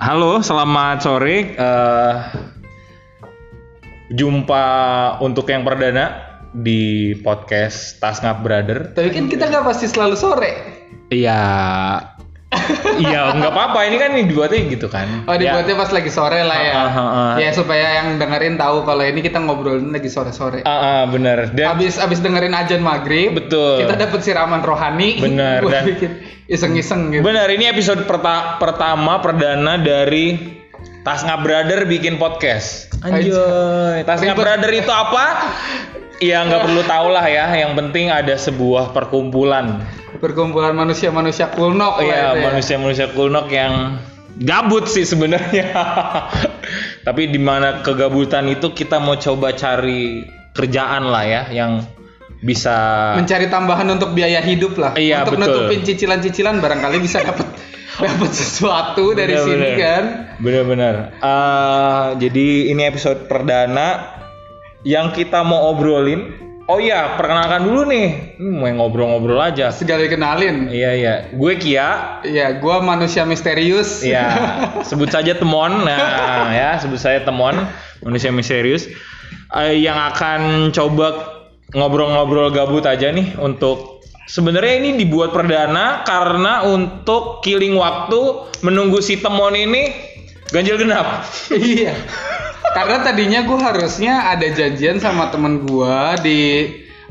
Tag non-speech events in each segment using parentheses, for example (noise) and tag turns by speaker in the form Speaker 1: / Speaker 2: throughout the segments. Speaker 1: Halo, selamat sore. Eh, jumpa untuk yang perdana di podcast Tasngap Brother.
Speaker 2: Tapi kan kita nggak pasti selalu sore.
Speaker 1: Iya, (laughs) iya nggak apa-apa. Ini kan dibuatnya gitu kan.
Speaker 2: Oh dibuatnya pas lagi sore lah ya.
Speaker 1: Ah, ah, ah.
Speaker 2: Ya supaya yang dengerin tahu kalau ini kita ngobrolin lagi sore-sore.
Speaker 1: Ya, ah, ah, bener. Dan
Speaker 2: Abis abis dengerin ajan maghrib,
Speaker 1: Betul.
Speaker 2: Kita dapat siraman rohani.
Speaker 1: Benar,
Speaker 2: Gua
Speaker 1: dan-
Speaker 2: pikir iseng-iseng gitu.
Speaker 1: benar ini episode perta- pertama perdana dari Tasngap Brother bikin podcast.
Speaker 2: Anjay.
Speaker 1: Tasnya
Speaker 2: Ribet.
Speaker 1: brother itu apa? Ya
Speaker 2: Iya.
Speaker 1: nggak perlu tau lah ya. Yang penting ada sebuah perkumpulan.
Speaker 2: Perkumpulan manusia-manusia kulnok lah
Speaker 1: Iya
Speaker 2: itu ya.
Speaker 1: manusia-manusia kulnok yang gabut sih sebenarnya. (laughs) Tapi di mana kegabutan itu kita mau coba cari kerjaan lah ya yang bisa
Speaker 2: Mencari tambahan untuk biaya hidup lah.
Speaker 1: Iya,
Speaker 2: untuk
Speaker 1: betul.
Speaker 2: nutupin cicilan-cicilan barangkali bisa
Speaker 1: (laughs)
Speaker 2: dapat dapat sesuatu dari sini
Speaker 1: Bener-bener.
Speaker 2: kan.
Speaker 1: Bener-bener. Eh, jadi ini episode perdana yang kita mau obrolin. Oh iya, perkenalkan dulu nih. Hmm, mau ngobrol-ngobrol aja.
Speaker 2: Segala dikenalin.
Speaker 1: Iya iya, gue Kia.
Speaker 2: Iya, gua manusia misterius.
Speaker 1: Iya,
Speaker 2: (laughs)
Speaker 1: sebut saja Temon. Nah, ya sebut saya Temon, manusia misterius Eh, yang akan coba ngobrol-ngobrol gabut aja nih untuk sebenarnya ini dibuat perdana karena untuk killing waktu menunggu si Temon ini ganjil genap.
Speaker 2: Iya. Karena tadinya gue harusnya ada janjian sama temen gue di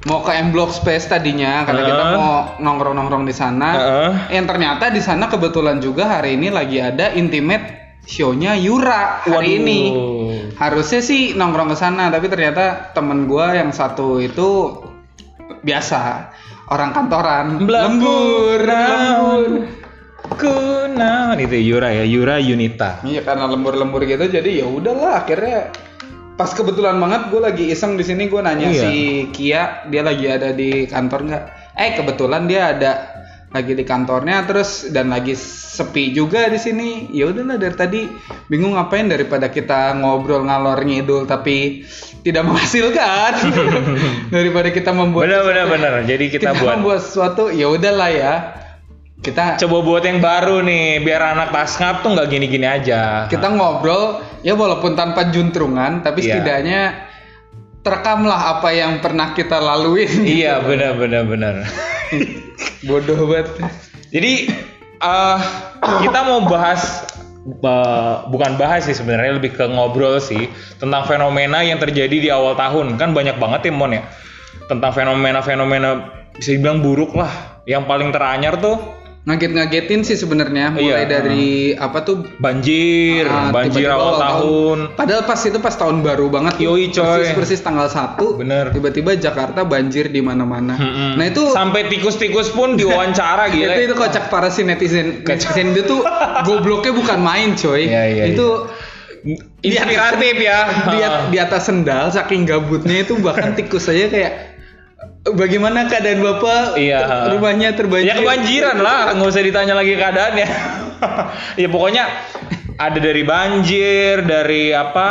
Speaker 2: mau ke M Block Space tadinya karena kita
Speaker 1: Heeh.
Speaker 2: mau nongkrong-nongkrong di sana.
Speaker 1: Heeh.
Speaker 2: Yang ternyata di sana kebetulan juga hari ini lagi ada intimate show-nya Yura
Speaker 1: Waduh.
Speaker 2: hari ini. Harusnya sih nongkrong ke sana, tapi ternyata temen gue yang satu itu biasa orang kantoran, lembur, lembur.
Speaker 1: Kunaon itu Yura ya, Yura Yunita.
Speaker 2: Iya karena lembur-lembur gitu jadi ya udahlah akhirnya pas kebetulan banget gue lagi iseng di sini gue nanya
Speaker 1: Iya.
Speaker 2: si Kia dia lagi ada di kantor nggak? Eh kebetulan dia ada lagi di kantornya terus dan lagi sepi juga di sini ya udahlah dari tadi bingung ngapain daripada kita ngobrol ngalor ngidul tapi tidak (laughs)
Speaker 1: (laughs)
Speaker 2: menghasilkan daripada kita membuat
Speaker 1: Bener-bener
Speaker 2: (laughs)
Speaker 1: bener. Jadi kita buat
Speaker 2: membuat sesuatu ya udahlah ya kita
Speaker 1: coba buat yang baru nih biar anak tasngap tuh nggak gini-gini aja
Speaker 2: kita ngobrol ya walaupun tanpa juntrungan tapi
Speaker 1: Iya.
Speaker 2: setidaknya terekamlah apa yang pernah kita laluin
Speaker 1: iya benar benar benar
Speaker 2: (laughs) bodoh banget
Speaker 1: jadi eh kita mau bahas eh, bukan bahas sih sebenarnya lebih ke ngobrol sih tentang fenomena yang terjadi di awal tahun kan banyak banget ya mon ya tentang fenomena-fenomena bisa dibilang buruk lah yang paling teranyar tuh
Speaker 2: ngaget-ngagetin sih sebenarnya mulai
Speaker 1: Iya.
Speaker 2: dari apa tuh
Speaker 1: banjir
Speaker 2: ah,
Speaker 1: banjir
Speaker 2: tiba-tiba
Speaker 1: awal tahun
Speaker 2: padahal pas itu pas tahun baru banget tuh.
Speaker 1: Yoi, coy.
Speaker 2: persis persis tanggal 1
Speaker 1: Bener.
Speaker 2: tiba-tiba Jakarta banjir di mana-mana
Speaker 1: Mm-mm.
Speaker 2: nah itu
Speaker 1: sampai tikus-tikus pun diwawancara gitu
Speaker 2: (laughs) itu itu kocak parah sih netizen netizen itu
Speaker 1: (laughs)
Speaker 2: tuh gobloknya bukan main coy
Speaker 1: Iya, iya,
Speaker 2: itu
Speaker 1: inspiratif ya
Speaker 2: di, at- di atas sendal saking gabutnya itu bahkan tikus aja kayak bagaimana keadaan bapak
Speaker 1: Iya.
Speaker 2: Ter- rumahnya terbanjir
Speaker 1: Ya kebanjiran lah, nggak usah ditanya lagi keadaannya. (laughs) ya pokoknya ada dari banjir, dari apa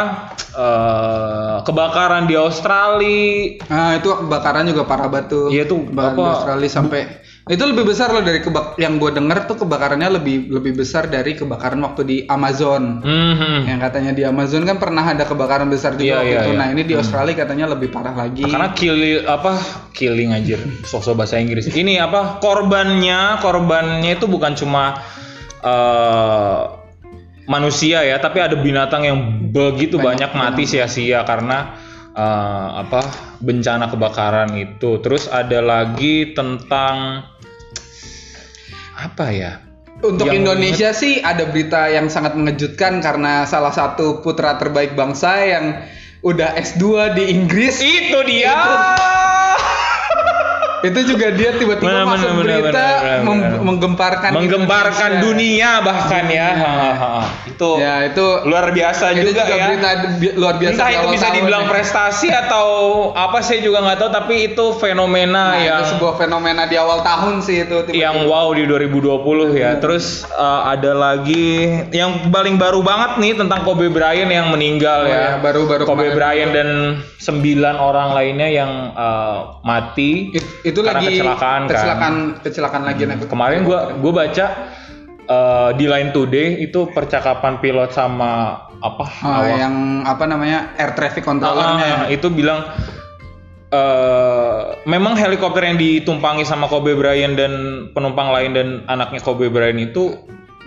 Speaker 1: eh, kebakaran di Australia.
Speaker 2: nah itu kebakaran juga parah banget tuh
Speaker 1: Iya tuh,
Speaker 2: kebakaran di
Speaker 1: Bapak-
Speaker 2: Australia sampai itu lebih besar loh dari kebak yang gue denger tuh kebakarannya lebih lebih besar dari kebakaran waktu di Amazon
Speaker 1: Mhm.
Speaker 2: yang katanya di Amazon kan pernah ada kebakaran
Speaker 1: Iya,
Speaker 2: besar juga waktu
Speaker 1: iya,
Speaker 2: itu
Speaker 1: iya.
Speaker 2: nah ini di Australia katanya lebih parah lagi
Speaker 1: Karena killing apa killing anjir, sosok bahasa Inggris. Ini apa korbannya? Korbannya itu bukan cuma eh, manusia ya, tapi ada binatang yang begitu banyak, Iya.
Speaker 2: Banyak
Speaker 1: mati sia-sia karena eh, apa bencana kebakaran itu. Terus ada lagi tentang apa ya?
Speaker 2: Untuk
Speaker 1: Yang-
Speaker 2: Indonesia sih ada berita yang sangat mengejutkan karena salah satu putra terbaik bangsa yang udah S2 di Inggris
Speaker 1: Itu dia.
Speaker 2: itu juga dia tiba-tiba
Speaker 1: Benar,
Speaker 2: masuk
Speaker 1: benar, benar, benar,
Speaker 2: berita
Speaker 1: benar,
Speaker 2: mem-
Speaker 1: benar. Kan
Speaker 2: menggemparkan
Speaker 1: Menggemparkan
Speaker 2: Indonesia.
Speaker 1: dunia bahkan ya. itu
Speaker 2: Ya itu
Speaker 1: luar biasa
Speaker 2: itu
Speaker 1: juga, ya.
Speaker 2: berita bi- luar biasa
Speaker 1: Entah
Speaker 2: di
Speaker 1: itu
Speaker 2: awal
Speaker 1: bisa
Speaker 2: tahun
Speaker 1: dibilang
Speaker 2: ya.
Speaker 1: prestasi atau apa saya juga nggak tahu tapi itu fenomena
Speaker 2: Nah,
Speaker 1: yang
Speaker 2: itu sebuah fenomena di awal tahun sih itu tiba-tiba.
Speaker 1: yang wow di 2020 ya. Terus eh, ada lagi yang paling baru banget nih tentang Kobe Bryant yang meninggal
Speaker 2: Oh
Speaker 1: ya.
Speaker 2: ya, baru-baru
Speaker 1: Kobe
Speaker 2: kemarin.
Speaker 1: Bryant dan 9 orang lainnya yang eh, mati
Speaker 2: It- itu
Speaker 1: karena
Speaker 2: lagi
Speaker 1: kecelakaan kan. Hmm.
Speaker 2: kecelakaan kecelakaan lagi nah,
Speaker 1: Kemarin gua gua baca eh, di Line Today itu percakapan pilot sama apa
Speaker 2: Ah,
Speaker 1: awak-
Speaker 2: yang apa namanya air traffic
Speaker 1: Ah,
Speaker 2: controllernya.
Speaker 1: itu bilang eh memang helikopter yang ditumpangi sama Kobe Bryant dan penumpang lain dan anaknya Kobe Bryant itu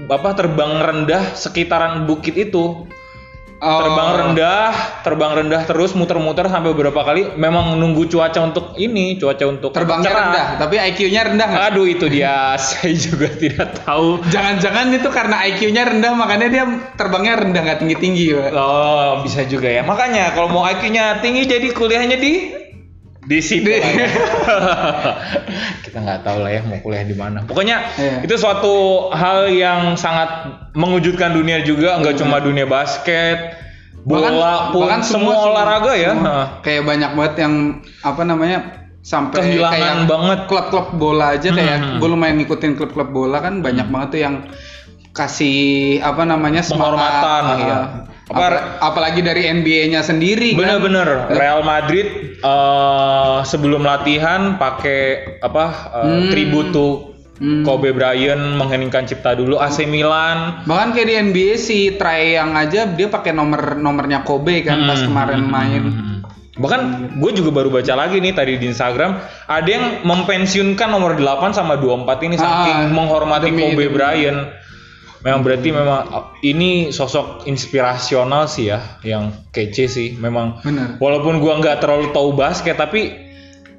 Speaker 1: apa terbang rendah sekitaran bukit itu
Speaker 2: Oh,
Speaker 1: terbang rendah terbang rendah terus muter-muter sampai beberapa kali memang nunggu cuaca untuk ini cuaca untuk
Speaker 2: Terbangnya
Speaker 1: cerah.
Speaker 2: rendah, tapi IQ-nya rendah nggak?
Speaker 1: aduh itu dia (laughs) saya juga tidak tahu
Speaker 2: Jangan-jangan itu karena IQ-nya rendah makanya dia terbangnya rendah nggak tinggi-tinggi. Pak.
Speaker 1: oh bisa juga ya makanya kalau mau IQ-nya tinggi jadi kuliahnya di di (laughs) situ
Speaker 2: Di-
Speaker 1: kita nggak tahu lah ya mau kuliah di mana pokoknya
Speaker 2: Iya.
Speaker 1: itu suatu hal yang sangat mengwujudkan dunia juga nggak cuma dunia basket bola
Speaker 2: Iya. Bahkan-
Speaker 1: pun
Speaker 2: bahkan
Speaker 1: semua,
Speaker 2: semua-
Speaker 1: olahraga ya
Speaker 2: semua.
Speaker 1: Heeh.
Speaker 2: Kayak banyak banget yang apa namanya sampai
Speaker 1: Kehilangan
Speaker 2: kayak
Speaker 1: banget.
Speaker 2: klub-klub bola aja kayak
Speaker 1: Hmm.
Speaker 2: gue lumayan ngikutin klub-klub bola kan banyak banget tuh yang kasih apa namanya semangat,
Speaker 1: Penghormatan,
Speaker 2: eh,
Speaker 1: iya.
Speaker 2: apa-
Speaker 1: Apa-
Speaker 2: apalagi dari NBA-nya sendiri kan.
Speaker 1: Bener-bener Real Madrid eh, sebelum latihan pakai apa eh,
Speaker 2: Hmm.
Speaker 1: tribute to
Speaker 2: Hmm.
Speaker 1: Kobe Bryant mengheningkan cipta dulu AC Milan
Speaker 2: Bahkan kayak di NBA si Trae yang aja dia pakai nomor nomornya Kobe kan pas kemarin main.
Speaker 1: Hmm. bahkan gue juga baru baca lagi nih tadi di Instagram ada yang mempensiunkan nomor 8 sama 24 ini saking
Speaker 2: Ah,
Speaker 1: menghormati
Speaker 2: demi-
Speaker 1: Kobe
Speaker 2: demi.
Speaker 1: Bryant memang berarti memang ini sosok inspirasional sih ya yang kece sih memang
Speaker 2: Bener.
Speaker 1: walaupun gua nggak terlalu tahu basket tapi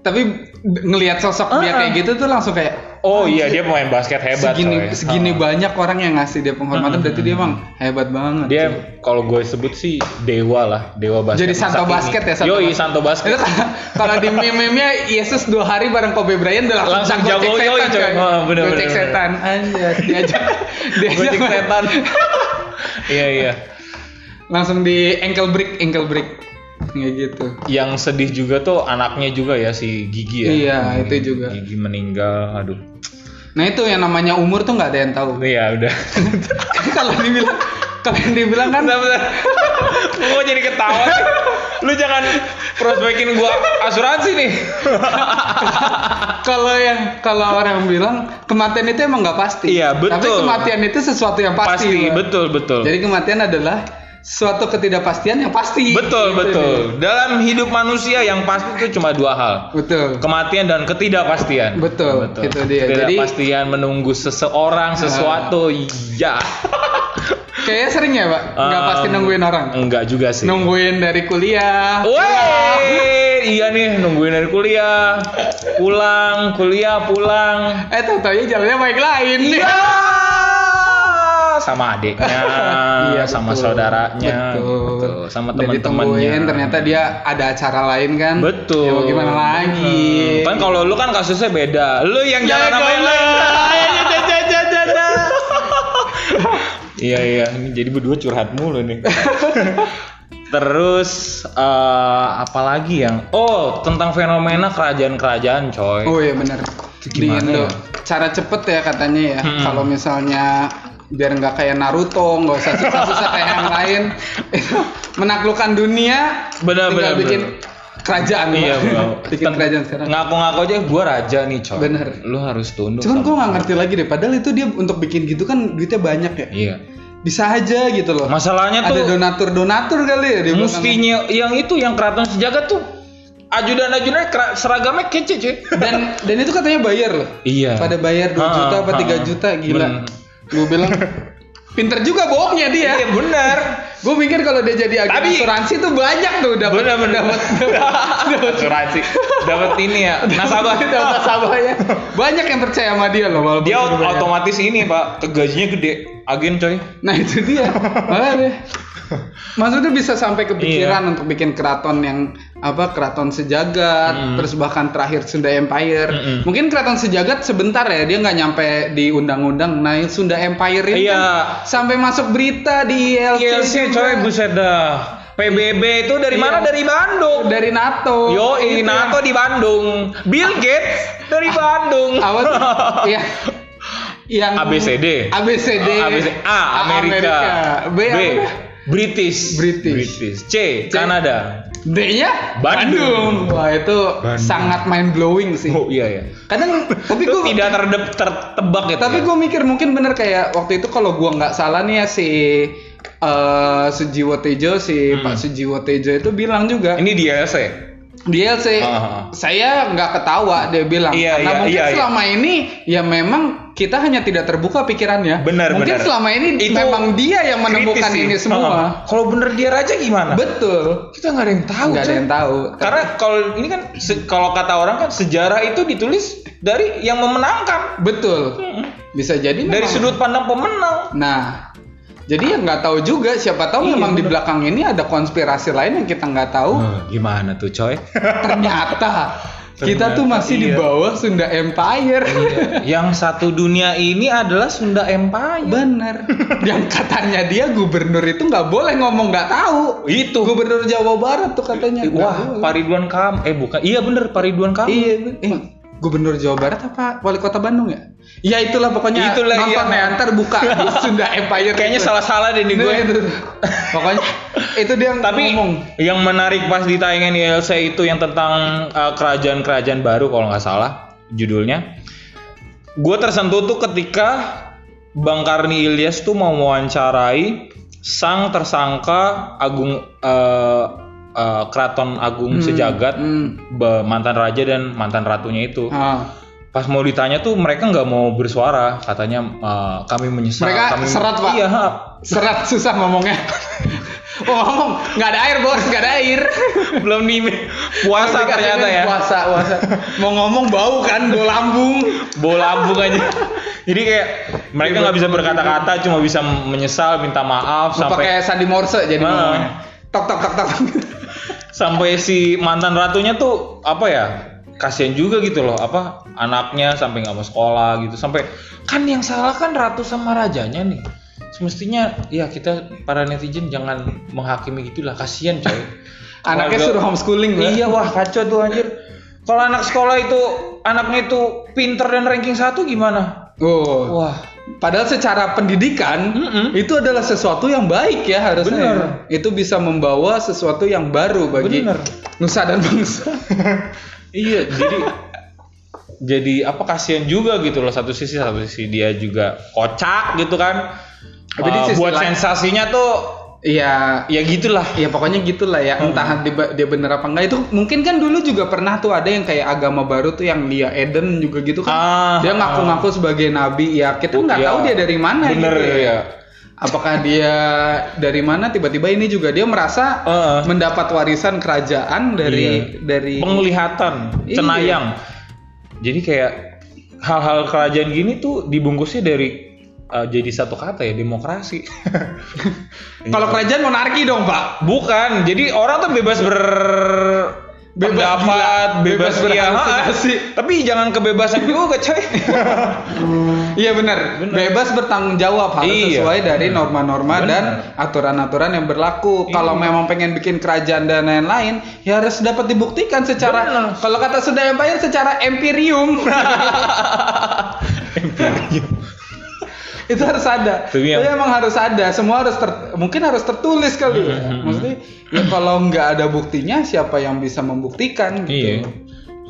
Speaker 2: Tapi d- ngelihat sosok dia
Speaker 1: Ah.
Speaker 2: kayak gitu tuh langsung kayak
Speaker 1: Oh iya dia pemain basket hebat coy.
Speaker 2: segini
Speaker 1: Ah. Uh-uh.
Speaker 2: segini banyak orang yang ngasih dia penghormatan berarti dia emang hebat banget.
Speaker 1: dia kalau gue sebut sih dewa lah dewa basket
Speaker 2: Jadi santo basket ya,
Speaker 1: santo
Speaker 2: santo
Speaker 1: yoi
Speaker 2: basket.
Speaker 1: santo
Speaker 2: Itu (laughs)
Speaker 1: basket
Speaker 2: kalau- kalau di meme-nya Yesus dua hari bareng Kobe Bryant udah
Speaker 1: Langsung
Speaker 2: langsung, jago
Speaker 1: jago,
Speaker 2: cek
Speaker 1: yoi,
Speaker 2: setan
Speaker 1: coy. Ah,
Speaker 2: coy.
Speaker 1: bener,
Speaker 2: Gocek
Speaker 1: bener, bener.
Speaker 2: setan anjir diajak
Speaker 1: (laughs)
Speaker 2: diajak
Speaker 1: Gocek setan. iya iya
Speaker 2: (laughs) langsung di ankle break ankle break kayak gitu.
Speaker 1: yang sedih juga tuh anaknya juga ya si Gigi ya
Speaker 2: Iya, itu juga.
Speaker 1: Gigi meninggal aduh
Speaker 2: Nah itu yang namanya umur tuh nggak ada yang tahu. (laughs)
Speaker 1: iya udah (laughs)
Speaker 2: kalau dibilang kalau yang dibilang kan
Speaker 1: bentar gue jadi ketawa sih. lu jangan prospekin gua asuransi nih
Speaker 2: kalau yang kalau orang bilang kematian itu emang nggak pasti.
Speaker 1: Iya,
Speaker 2: Tapi
Speaker 1: betul.
Speaker 2: kematian itu sesuatu yang pasti.
Speaker 1: pasti
Speaker 2: Bang.
Speaker 1: betul betul
Speaker 2: Jadi kematian adalah suatu ketidakpastian yang pasti.
Speaker 1: betul
Speaker 2: Gitu
Speaker 1: betul
Speaker 2: dia.
Speaker 1: dalam hidup manusia yang pasti itu cuma dua hal
Speaker 2: Betul.
Speaker 1: kematian dan ketidakpastian.
Speaker 2: Betul, itu dia. Jadi-
Speaker 1: ketidakpastian menunggu seseorang sesuatu ya.
Speaker 2: Kayaknya sering ya, Pak? Nggak
Speaker 1: Em, iya.
Speaker 2: pasti nungguin orang.
Speaker 1: Enggak juga sih.
Speaker 2: Nungguin dari kuliah.
Speaker 1: Oh. Woi, iya nih nungguin dari kuliah, pulang, kuliah, pulang.
Speaker 2: Eh, tahu-tahu jalannya baik lain.
Speaker 1: Iya. Ah, Sama adiknya,
Speaker 2: Iya,
Speaker 1: sama
Speaker 2: betul.
Speaker 1: saudaranya,
Speaker 2: Betul.
Speaker 1: gitu. sama
Speaker 2: Dan
Speaker 1: teman-temannya.
Speaker 2: ditungguin, ternyata dia ada acara lain kan.
Speaker 1: Betul.
Speaker 2: Ya, mau gimana lagi?
Speaker 1: Hmm, Kan kalau lu kan kasusnya beda. Lu yang
Speaker 2: Ya,
Speaker 1: jalan sama yang
Speaker 2: goblok.
Speaker 1: lain. Iya iya, ini jadi berdua curhat mulu nih. Terus eh, apa lagi yang Oh, tentang fenomena kerajaan-kerajaan, coy.
Speaker 2: Oh iya benar. Di
Speaker 1: gimana
Speaker 2: Indo.
Speaker 1: ya?
Speaker 2: Cara cepet ya katanya ya.
Speaker 1: Mm-mm.
Speaker 2: Kalau misalnya biar nggak kayak Naruto, nggak usah susah-susah kayak yang lain. (laughs) menaklukkan dunia.
Speaker 1: Benar, benar,
Speaker 2: tinggal bikin kerajaan.
Speaker 1: Iya,
Speaker 2: Pak.
Speaker 1: Bro.
Speaker 2: (laughs) bikin
Speaker 1: Tem-
Speaker 2: kerajaan sekarang.
Speaker 1: Ngaku-ngaku aja gua raja nih, coy.
Speaker 2: Bener.
Speaker 1: Lu harus tunduk. sama-
Speaker 2: Cuman gue nggak ngerti lagi deh. Padahal itu dia untuk bikin gitu kan duitnya banyak ya.
Speaker 1: Iya.
Speaker 2: Bisa aja gitu loh.
Speaker 1: Masalahnya
Speaker 2: ada
Speaker 1: tuh
Speaker 2: donatur-donatur kali ya dia
Speaker 1: Mustinya yang itu yang keraton sejagat tuh ajudan-ajudannya kera- seragamnya kece cuy.
Speaker 2: belakangnya. Dan dan itu katanya bayar loh.
Speaker 1: Iya.
Speaker 2: Pada bayar 2
Speaker 1: Ah,
Speaker 2: juta apa
Speaker 1: ah,
Speaker 2: 3 juta gila.
Speaker 1: bener.
Speaker 2: Gue bilang (laughs) pinter juga bohongnya dia.
Speaker 1: Iya benar.
Speaker 2: Gue mikir kalau dia jadi agen
Speaker 1: Tapi-
Speaker 2: asuransi tuh banyak tuh dapat
Speaker 1: Benar benar. (laughs) Asuransi. Dapat ini ya nasabah.
Speaker 2: dapat
Speaker 1: (laughs)
Speaker 2: nasabahnya. Banyak yang percaya sama dia loh walaupun
Speaker 1: Dia
Speaker 2: suruh bayar.
Speaker 1: otomatis ini pak, gajinya gede, agen coy.
Speaker 2: Nah itu dia. Makanya. Maksudnya bisa sampai
Speaker 1: Iya.
Speaker 2: kepikiran untuk bikin keraton yang apa keraton sejagat,
Speaker 1: Mm.
Speaker 2: terus bahkan terakhir Sunda Empire.
Speaker 1: Mm-mm.
Speaker 2: Mungkin keraton sejagat sebentar ya, dia nggak nyampe di undang-undang. Nah Sunda Empire
Speaker 1: Iya.
Speaker 2: ini kan sampai masuk berita di ILC.
Speaker 1: ILC
Speaker 2: juga.
Speaker 1: coy buset dah. PBB itu dari
Speaker 2: Iya.
Speaker 1: mana? Dari Iya. Bandung.
Speaker 2: dari NATO. Gitu ya.
Speaker 1: Yo,
Speaker 2: Itu
Speaker 1: NATO di Bandung. Bill Gates (laughs) dari Bandung.
Speaker 2: yang- Apa
Speaker 1: (laughs)
Speaker 2: tuh? Iya. Yang
Speaker 1: ABCD.
Speaker 2: ABCD.
Speaker 1: Oh, A, B, C. A, Amerika.
Speaker 2: Amerika. B, apa?
Speaker 1: British.
Speaker 2: British.
Speaker 1: British. C, Kanada.
Speaker 2: D-nya
Speaker 1: Bandung.
Speaker 2: Bandung. Wah, itu
Speaker 3: Bandung.
Speaker 2: sangat mind blowing sih.
Speaker 1: Oh iya ya.
Speaker 2: Kadang tapi
Speaker 1: Itu
Speaker 2: gue
Speaker 1: tidak terdep, tertebak gitu.
Speaker 2: tapi
Speaker 1: ya.
Speaker 2: gue mikir mungkin bener kayak waktu itu kalau gua nggak salah nih ya si eh, Sujiwo Tejo si
Speaker 1: Hmm.
Speaker 2: Pak Sujiwo Tejo itu bilang juga
Speaker 1: ini ya, di LC.
Speaker 2: dia sih
Speaker 1: Ah.
Speaker 2: saya nggak ketawa dia bilang
Speaker 1: Iya,
Speaker 2: karena
Speaker 1: iya,
Speaker 2: mungkin
Speaker 1: iya, iya.
Speaker 2: selama ini ya memang kita hanya tidak terbuka pikirannya
Speaker 1: Benar,
Speaker 2: mungkin
Speaker 1: benar.
Speaker 2: selama ini
Speaker 1: Itu
Speaker 2: memang dia yang menemukan
Speaker 1: Kritis sih.
Speaker 2: ini
Speaker 1: Heeh.
Speaker 2: semua
Speaker 1: Kalau bener dia raja gimana?
Speaker 2: betul
Speaker 1: Kita nggak ada yang tahu.
Speaker 2: nggak ada
Speaker 1: Cak.
Speaker 2: yang tahu
Speaker 1: Karena kalau ini kan se- kalau kata orang kan sejarah itu ditulis dari yang memenangkan.
Speaker 2: betul bisa
Speaker 1: Dari
Speaker 2: jadi memang-
Speaker 1: sudut pandang pemenang.
Speaker 2: Nah, jadi ya nggak tahu juga siapa tahu
Speaker 1: Iya,
Speaker 2: memang di belakang ini ada konspirasi lain yang kita nggak tahu.
Speaker 1: (laughs) gimana tuh coy?
Speaker 2: Ternyata kita tuh
Speaker 1: Ternyata
Speaker 2: masih di
Speaker 1: iya.
Speaker 2: bawah Sunda Empire.
Speaker 1: (laughs) yang satu dunia ini adalah Sunda Empire.
Speaker 2: (laughs) Bener. yang katanya dia gubernur itu nggak boleh ngomong nggak tahu.
Speaker 1: Itu.
Speaker 2: Gubernur Jawa Barat tuh katanya. nggak
Speaker 1: Wah,
Speaker 2: boleh.
Speaker 1: Pariduan Kam. Eh bukan. Iya bener Pariduan Kam.
Speaker 2: Iya. ben- eh, gubernur Jawa Barat apa wali kota Bandung ya? Ya itulah pokoknya
Speaker 1: Itulah,
Speaker 2: nonton
Speaker 1: iya.
Speaker 2: ya, ntar (laughs) buka di Sunda Empire.
Speaker 1: Kayaknya
Speaker 2: itu.
Speaker 1: salah-salah deh nih
Speaker 2: Itu-
Speaker 1: gue.
Speaker 2: itu. Pokoknya itu dia yang
Speaker 1: Tapi
Speaker 2: ngomong.
Speaker 1: yang menarik pas di tayangan ILC itu yang tentang uh, kerajaan-kerajaan baru kalau nggak salah judulnya. Gue tersentuh tuh ketika Bang Karni Ilyas tuh mau mewawancarai sang tersangka Agung uh, uh, Keraton Agung Sejagat
Speaker 2: Hmm.
Speaker 1: be- mantan raja dan mantan ratunya itu.
Speaker 2: Ah.
Speaker 1: Pas mau ditanya tuh mereka nggak mau bersuara, katanya uh, kami menyesal.
Speaker 2: Mereka
Speaker 1: kami
Speaker 2: serat, Pak.
Speaker 1: Iya. ha.
Speaker 2: Serat susah (laughs) ngomongnya. Oh, ngomong nggak ada air bos, nggak ada air.
Speaker 1: Belum nih puasa
Speaker 2: Dikasih
Speaker 1: ternyata
Speaker 2: minum,
Speaker 1: ya.
Speaker 2: Puasa, puasa. Mau ngomong bau kan, bau lambung.
Speaker 1: bola lambung aja. Jadi kayak mereka nggak bisa berkata-kata, cuma bisa menyesal, minta maaf
Speaker 2: Mau
Speaker 1: sampai
Speaker 2: pakai sandi morse jadi
Speaker 1: Ah.
Speaker 2: ngomongnya. Tok tok tok tok.
Speaker 1: (laughs) sampai si mantan ratunya tuh apa ya? Kasian juga gitu loh, apa anaknya sampai nggak mau sekolah gitu, sampai kan yang salah kan ratu sama rajanya nih. Semestinya ya kita para netizen jangan menghakimi gitulah, kasian coy.
Speaker 2: Anaknya
Speaker 1: Keluarga-
Speaker 2: suruh homeschooling lah.
Speaker 1: Iya wah kacau tuh anjir. Kalau anak sekolah itu anaknya itu pinter dan ranking satu gimana?
Speaker 2: Oh.
Speaker 1: Wah,
Speaker 2: Padahal secara pendidikan
Speaker 1: Mm-mm.
Speaker 2: itu adalah sesuatu yang baik ya harusnya.
Speaker 1: Bener.
Speaker 2: Itu bisa membawa sesuatu yang baru bagi
Speaker 1: Bener.
Speaker 2: nusa dan bangsa.
Speaker 1: (laughs) Iya, jadi jadi apa kasihan juga gitu loh satu sisi satu sisi dia juga kocak gitu kan.
Speaker 2: Tapi di
Speaker 1: Eh,
Speaker 2: sisi
Speaker 1: buat
Speaker 2: lain-
Speaker 1: sensasinya tuh
Speaker 2: Iya,
Speaker 1: ya gitulah.
Speaker 2: ya pokoknya gitulah ya
Speaker 1: Hmm.
Speaker 2: entah dia, dia bener apa enggak itu mungkin kan dulu juga pernah tuh ada yang kayak agama baru tuh yang Lia Eden juga gitu kan
Speaker 1: Ah,
Speaker 2: dia ngaku-ngaku sebagai nabi ya kita nggak
Speaker 1: Iya.
Speaker 2: tahu dia dari mana
Speaker 1: Bener,
Speaker 2: gitu
Speaker 1: iya.
Speaker 2: apakah dia dari mana tiba-tiba ini juga dia merasa eh,
Speaker 1: Heeh.
Speaker 2: mendapat warisan kerajaan dari dari
Speaker 1: Penglihatan,
Speaker 2: Iya.
Speaker 1: cenayang. Jadi kayak hal-hal kerajaan gini tuh dibungkusnya dari eh, jadi satu kata ya demokrasi. (laughs)
Speaker 2: kalau kerajaan monarki dong pak
Speaker 1: Bukan, jadi orang tuh bebas ber
Speaker 2: Bebas
Speaker 1: pendapat,
Speaker 2: gila,
Speaker 1: bebas,
Speaker 2: bebas berhalusinasi.
Speaker 1: berhalusinasi. Tapi jangan kebebasan juga, coy.
Speaker 2: Iya benar, bebas bertanggung jawab harus
Speaker 1: Iya.
Speaker 2: sesuai dari norma-norma
Speaker 1: Bener.
Speaker 2: dan aturan-aturan yang berlaku. Kalau memang pengen bikin kerajaan dan lain-lain, ya harus dapat dibuktikan secara kalau kata Sunda Empire secara empirium. itu harus ada.
Speaker 1: Itu yang-
Speaker 2: Itu emang harus ada. Semua harus ter- mungkin harus tertulis kali. ya. Maksudnya ya kalau nggak ada buktinya siapa yang bisa membuktikan gitu.
Speaker 1: Iya.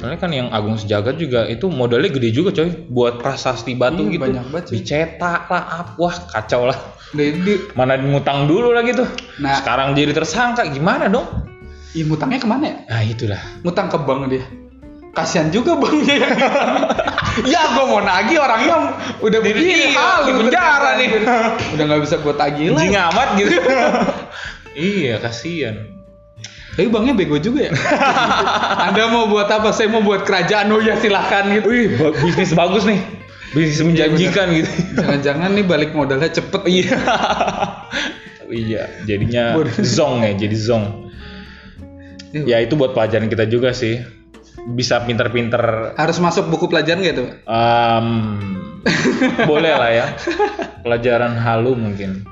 Speaker 1: Soalnya kan yang Agung Sejagat juga itu modalnya gede juga coy buat prasasti batu
Speaker 2: Iya,
Speaker 1: gitu.
Speaker 2: banyak banget, cuy.
Speaker 1: Dicetak lah, ap- wah kacau lah.
Speaker 2: Jadi,
Speaker 1: Mana ngutang dulu lagi tuh.
Speaker 2: Nah.
Speaker 1: Sekarang jadi tersangka gimana dong?
Speaker 2: ih mutangnya kemana ya?
Speaker 1: Nah itulah.
Speaker 2: ngutang ke bank dia kasihan juga banknya yang (laughs) ya gue mau nagih orangnya udah
Speaker 1: Jadi
Speaker 2: begini
Speaker 1: iya,
Speaker 2: halu
Speaker 1: di penjara
Speaker 2: ternyata.
Speaker 1: nih.
Speaker 2: udah nggak bisa gue tagih
Speaker 1: Anjing
Speaker 2: lagi
Speaker 1: amat gitu. (laughs) iya kasihan.
Speaker 2: tapi banknya bego juga ya
Speaker 1: (laughs)
Speaker 2: anda mau buat apa saya mau buat kerajaan oh ya silahkan gitu
Speaker 1: Wih ba- bisnis bagus nih.
Speaker 2: Iya,
Speaker 1: Bisnis menjanjikan gitu.
Speaker 2: jangan-jangan nih balik modalnya cepet
Speaker 1: Iya. iya, jadinya
Speaker 2: Bodoh.
Speaker 1: zong ya, jadi zong.
Speaker 2: Iya.
Speaker 1: Ya itu buat pelajaran kita juga sih. Bisa pinter-pinter
Speaker 2: harus masuk buku pelajaran gitu (laughs)
Speaker 1: Em, boleh lah ya. Pelajaran halu mungkin.